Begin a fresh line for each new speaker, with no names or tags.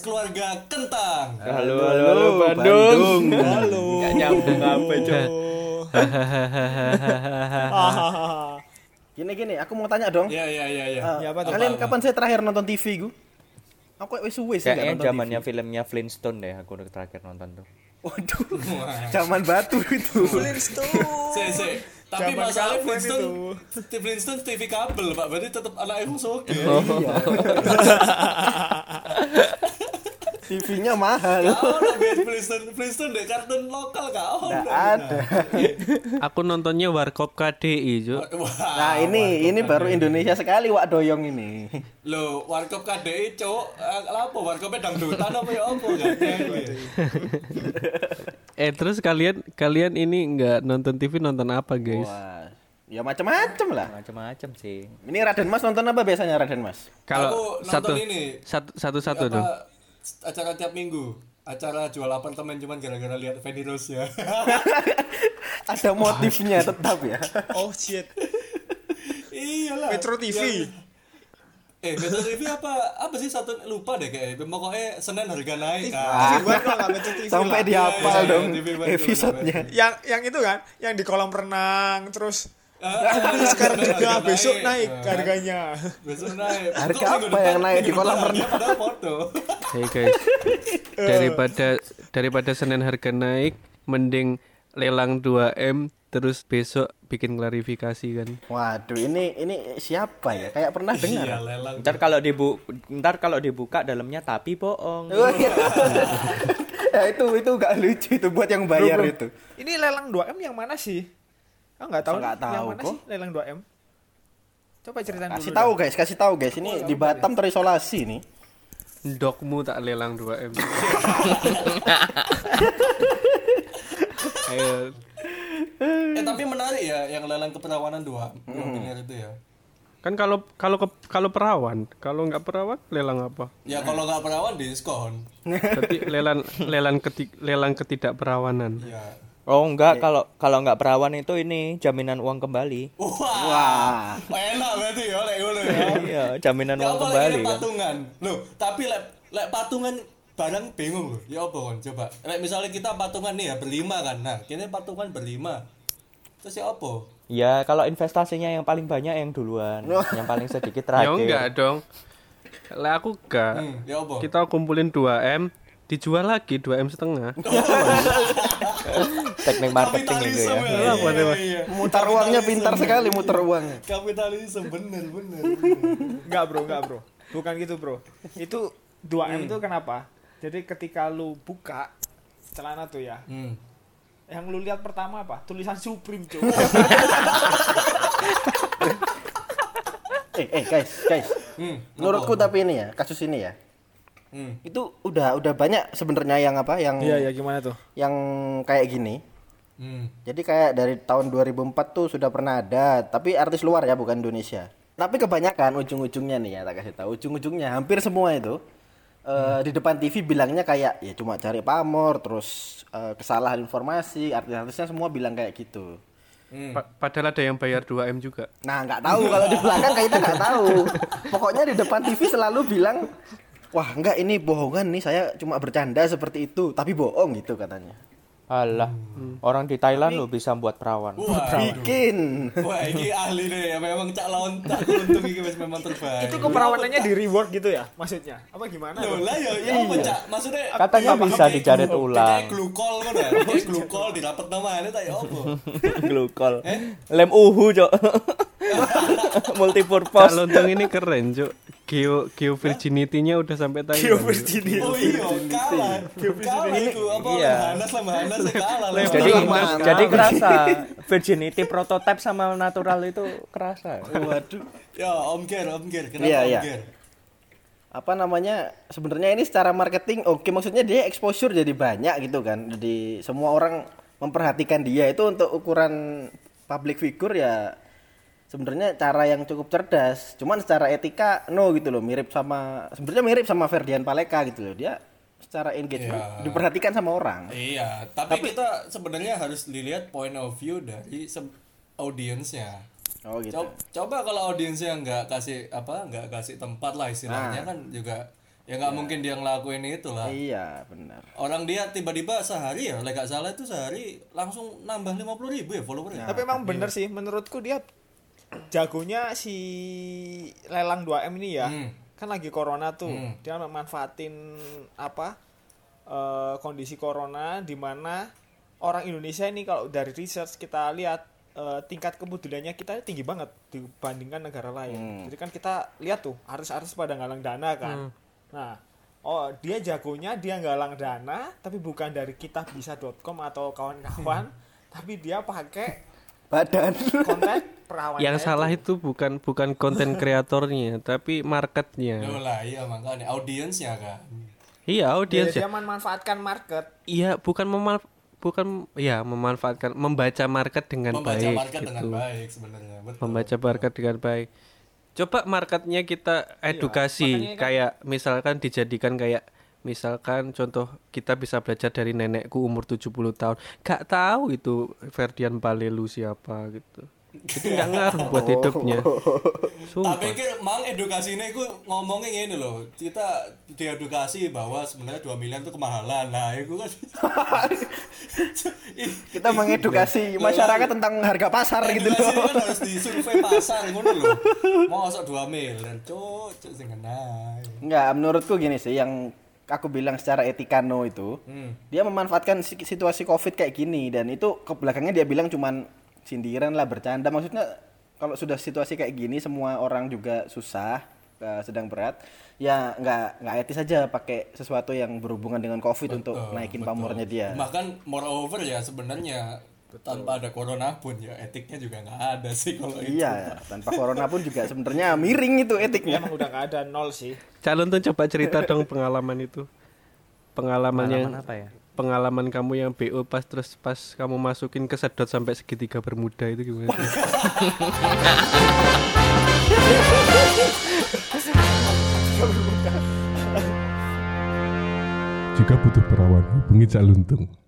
keluarga kentang.
Halo, halo, halo, Bandung.
Halo.
Nggak nyambung apa, Cok.
Hahaha.
Gini gini, aku mau tanya dong.
Ya ya ya ya.
Eh,
Ya, apa tuh?
kalian
Apa,
kapan saya terakhir nonton TV gu? Aku wis suwe sih nggak
Kayaknya
nonton
zamannya
TV.
filmnya Flintstone deh aku terakhir nonton tuh.
Waduh. Zaman batu itu.
Se, se. Tapi
Zaman
masalah
kapan
Flintstone,
itu?
Flintstone TV kabel, Pak. Berarti tetap anak ibu oke.
Oh. TV-nya mahal.
Kau lah Flintstone, Flintstone deh kartun lokal kau.
Nggak ada.
Aku nontonnya Warkop KDI, Cuk.
Wah.
Nah, ini ini baru Indonesia sekali Wak Doyong ini.
Lo warkop KDI, Cok. Eh, Apa warkopnya dangdutan apa ya apa kan?
Iya,
Eh, terus kalian kalian ini nggak nonton TV nonton apa, guys?
Wah. Ya macam-macam lah.
Macam-macam sih.
Ini Raden Mas nonton apa biasanya Raden Mas?
Kalau
Aku nonton
satu,
ini.
satu satu satu dong.
Apa, acara tiap minggu acara jual apartemen cuman gara-gara lihat Feni Rose ya
Ada motifnya tetap ya.
Oh shit.
iyalah
Metro TV.
Yang- eh Metro TV apa apa sih satu lupa deh kayaknya pokoknya Senin harga naik kan
TV One lah, Metro TV
Sampai
Iya,
lah.
dihafal
iya,
dong
TV bantu,
episodenya.
Yang yang itu kan, yang di kolam renang terus
Ah,
terus sekarang
Senin
juga
harga
besok naik
Ah,
harganya.
besok naik
Harga
Kok minggu
apa yang
depan-
naik di
minggu
kolam
depan
renang?
harga padahal foto
Hey guys, daripada daripada Senin harga naik, mending lelang 2M terus besok bikin klarifikasi kan.
Waduh, ini ini siapa ya? Kayak pernah dengar.
iya lelang
Ntar kalau dibu ntar kalau dibuka dalamnya tapi bohong.
Oh, iya. ya itu itu gak lucu itu buat yang bayar itu.
Ini lelang 2M yang mana sih? Aku nggak tahu.
Nggak
nih. Yang
tahu,
mana
kok.
sih lelang 2M? Coba ceritain dulu.
Kasih
deh.
tahu guys, kasih tahu guys. Ini di Batam terisolasi nih.
Dokmu tak lelang 2M. Ayo.
eh tapi menarik ya yang lelang keperawanan dua yang biliar itu ya
Kan kalau kalau ke- kalau perawan, kalau nggak perawan lelang apa?
ya kalau nggak perawan diskon
Berarti lelang lelang keti, lelang ketidakperawanan.
ya
Oh enggak, kalau kalau enggak perawan itu ini jaminan uang kembali.
wah, enak berarti ya lek ngono ya
Iya, jaminan
Ya
uang
apa
kembali
lagi lek
kan.
patungan? Loh, tapi lek lek patungan barang bingung loh. Ya apa kon coba. Lek misalnya kita patungan nih ya berlima kan. Nah, kini patungan berlima. Terus ya apa?
Ya, kalau investasinya yang paling banyak yang duluan, yang paling sedikit
Ya
terakhir.
enggak dong. Lah aku enggak.
Hmm, ya apa?
Kita kumpulin 2M, dijual lagi 2M setengah.
Teknik marketing gitu ya.
Kapitalisme ya. Iya, iya, iya.
Mutar uangnya pintar sekali muter uangnya.
Kapitalisme bener bener.
Enggak bro, enggak bro. Bukan gitu bro. Itu 2M
Hmm.
itu kenapa? Jadi ketika lu buka celana tuh ya,
hmm.
yang lu lihat pertama apa? Tulisan Supreme cuy.
Eh, eh guys, guys.
Hmm.
Menurutku tapi ini ya, kasus ini ya.
Hmm.
Itu udah udah banyak sebenarnya yang apa yang
Iya, gimana tuh?
yang kayak gini.
Hmm.
Jadi kayak dari tahun 2004 tuh sudah pernah ada, tapi artis luar ya bukan Indonesia. Tapi kebanyakan ujung-ujungnya nih ya tak kasih tahu, ujung-ujungnya hampir semua itu eh, di depan TV bilangnya kayak ya cuma cari pamor, terus eh, kesalahan informasi, artis-artisnya semua bilang kayak gitu.
Hmm.
Pa- padahal ada yang bayar 2M juga.
Nah nggak tahu kalau di belakang kita nggak tahu. Pokoknya di depan TV selalu bilang wah nggak ini bohongan nih saya cuma bercanda seperti itu, tapi bohong gitu katanya.
Alah, orang di Thailand lo bisa buat perawan.
Wah,
Bikin.
wah, ini ahli deh. Memang cak lontar. Untung ini wis memang terbaik.
Itu keperawanannya di reward gitu ya maksudnya? Apa gimana?
Loh,
Bro?
lah ya, ya apa cak? Maksudnya
Katanya
apa-
bisa
apa-
dijaret
kayak
ulang.
glukol kan ya? Kayak glukol dirapet namanya tak ya apa?
Glukol. Lem uhu, Cok. Multipurpose.
Lontong ini keren, Cuk. Geo geo virginity-nya udah sampai tadi. Geo virginity.
Oh iya, kalah. Kalah itu apa?
Iya.
Hanas lah, Hanas ya kalah. lah.
Jadi
Mana?
jadi kerasa virginity prototype sama natural itu kerasa.
Waduh.
ya Om Ger, Om Ger, kenapa
Iya,
Om
iya.
Ger?
apa namanya sebenarnya ini secara marketing oke maksudnya dia exposure jadi banyak gitu kan jadi semua orang memperhatikan dia itu untuk ukuran public figure ya sebenarnya cara yang cukup cerdas cuman secara etika no gitu loh mirip sama sebenarnya mirip sama Ferdian Paleka gitu loh dia secara engagement diperhatikan sama orang
Iya, tapi, kita sebenarnya harus dilihat point of view dari se- audiensnya.
oh gitu
Coba, coba kalau audiensnya nggak kasih apa, nggak kasih tempat lah istilahnya kan juga ya nggak mungkin dia ngelakuin itu lah
Iya, benar.
orang dia tiba-tiba sehari ya like nggak salah itu sehari langsung nambah 50.000 ribu ya followernya
tapi emang bener sih menurutku dia jagonya si lelang 2M ini ya kan lagi corona tuh dia memanfaatin apa eh, kondisi corona di mana orang Indonesia ini kalau dari research kita lihat eh, tingkat kepeduliannya kita tinggi banget dibandingkan negara lain jadi kan kita lihat tuh artis-artis pada ngalang dana kan nah oh dia jagonya dia ngalang dana tapi bukan dari kita bisa.com atau kawan-kawan tapi dia pakai
Badan.
konten perawan
yang salah itu bukan bukan konten kreatornya tapi marketnya
Loh lah iya makanya audiensnya kan
iya
dia,
audiens ya
dia memanfaatkan market
iya bukan memal bukan ya memanfaatkan membaca market dengan
membaca
baik
market
gitu.
dengan baik sebenarnya betul
membaca market dengan baik coba marketnya kita edukasi kayak misalkan dijadikan kayak misalkan contoh kita bisa belajar dari nenekku umur 70 tahun gak tahu itu Ferdian Palelu siapa gitu itu nggak ngaruh buat hidupnya
Tak
sumpah
pikir mang edukasi ini aku ngomongin ini loh kita diedukasi bahwa sebenarnya 2 miliar itu kemahalan nah itu kan
Kita mengedukasi masyarakat tentang harga pasar gitu
edukasi
loh.
ini kan harus disurvei pasar ngono loh mau sok 2 miliar cuk cuk sing kena
Enggak, menurutku gini sih yang aku bilang secara etikano itu, dia memanfaatkan si- situasi Covid kayak gini dan itu ke belakangnya dia bilang cuman sindiran lah bercanda. Maksudnya kalau sudah situasi kayak gini semua orang juga susah, eh, sedang berat, ya nggak nggak etis aja pakai sesuatu yang berhubungan dengan Covid untuk naikin pamornya dia.
bahkan moreover ya sebenarnya tanpa ada corona pun ya etiknya juga nggak ada sih kalau itu
Iya, tanpa corona pun juga sebenarnya miring itu etiknya.
emang udah gak ada nol sih
calon tuh coba cerita dong pengalaman itu pengalaman, yang
apa ya?
pengalaman kamu yang BO pas terus pas kamu masukin ke sedot sampai segitiga bermuda itu gimana
Jika butuh perawat, hubungi Cak Luntung.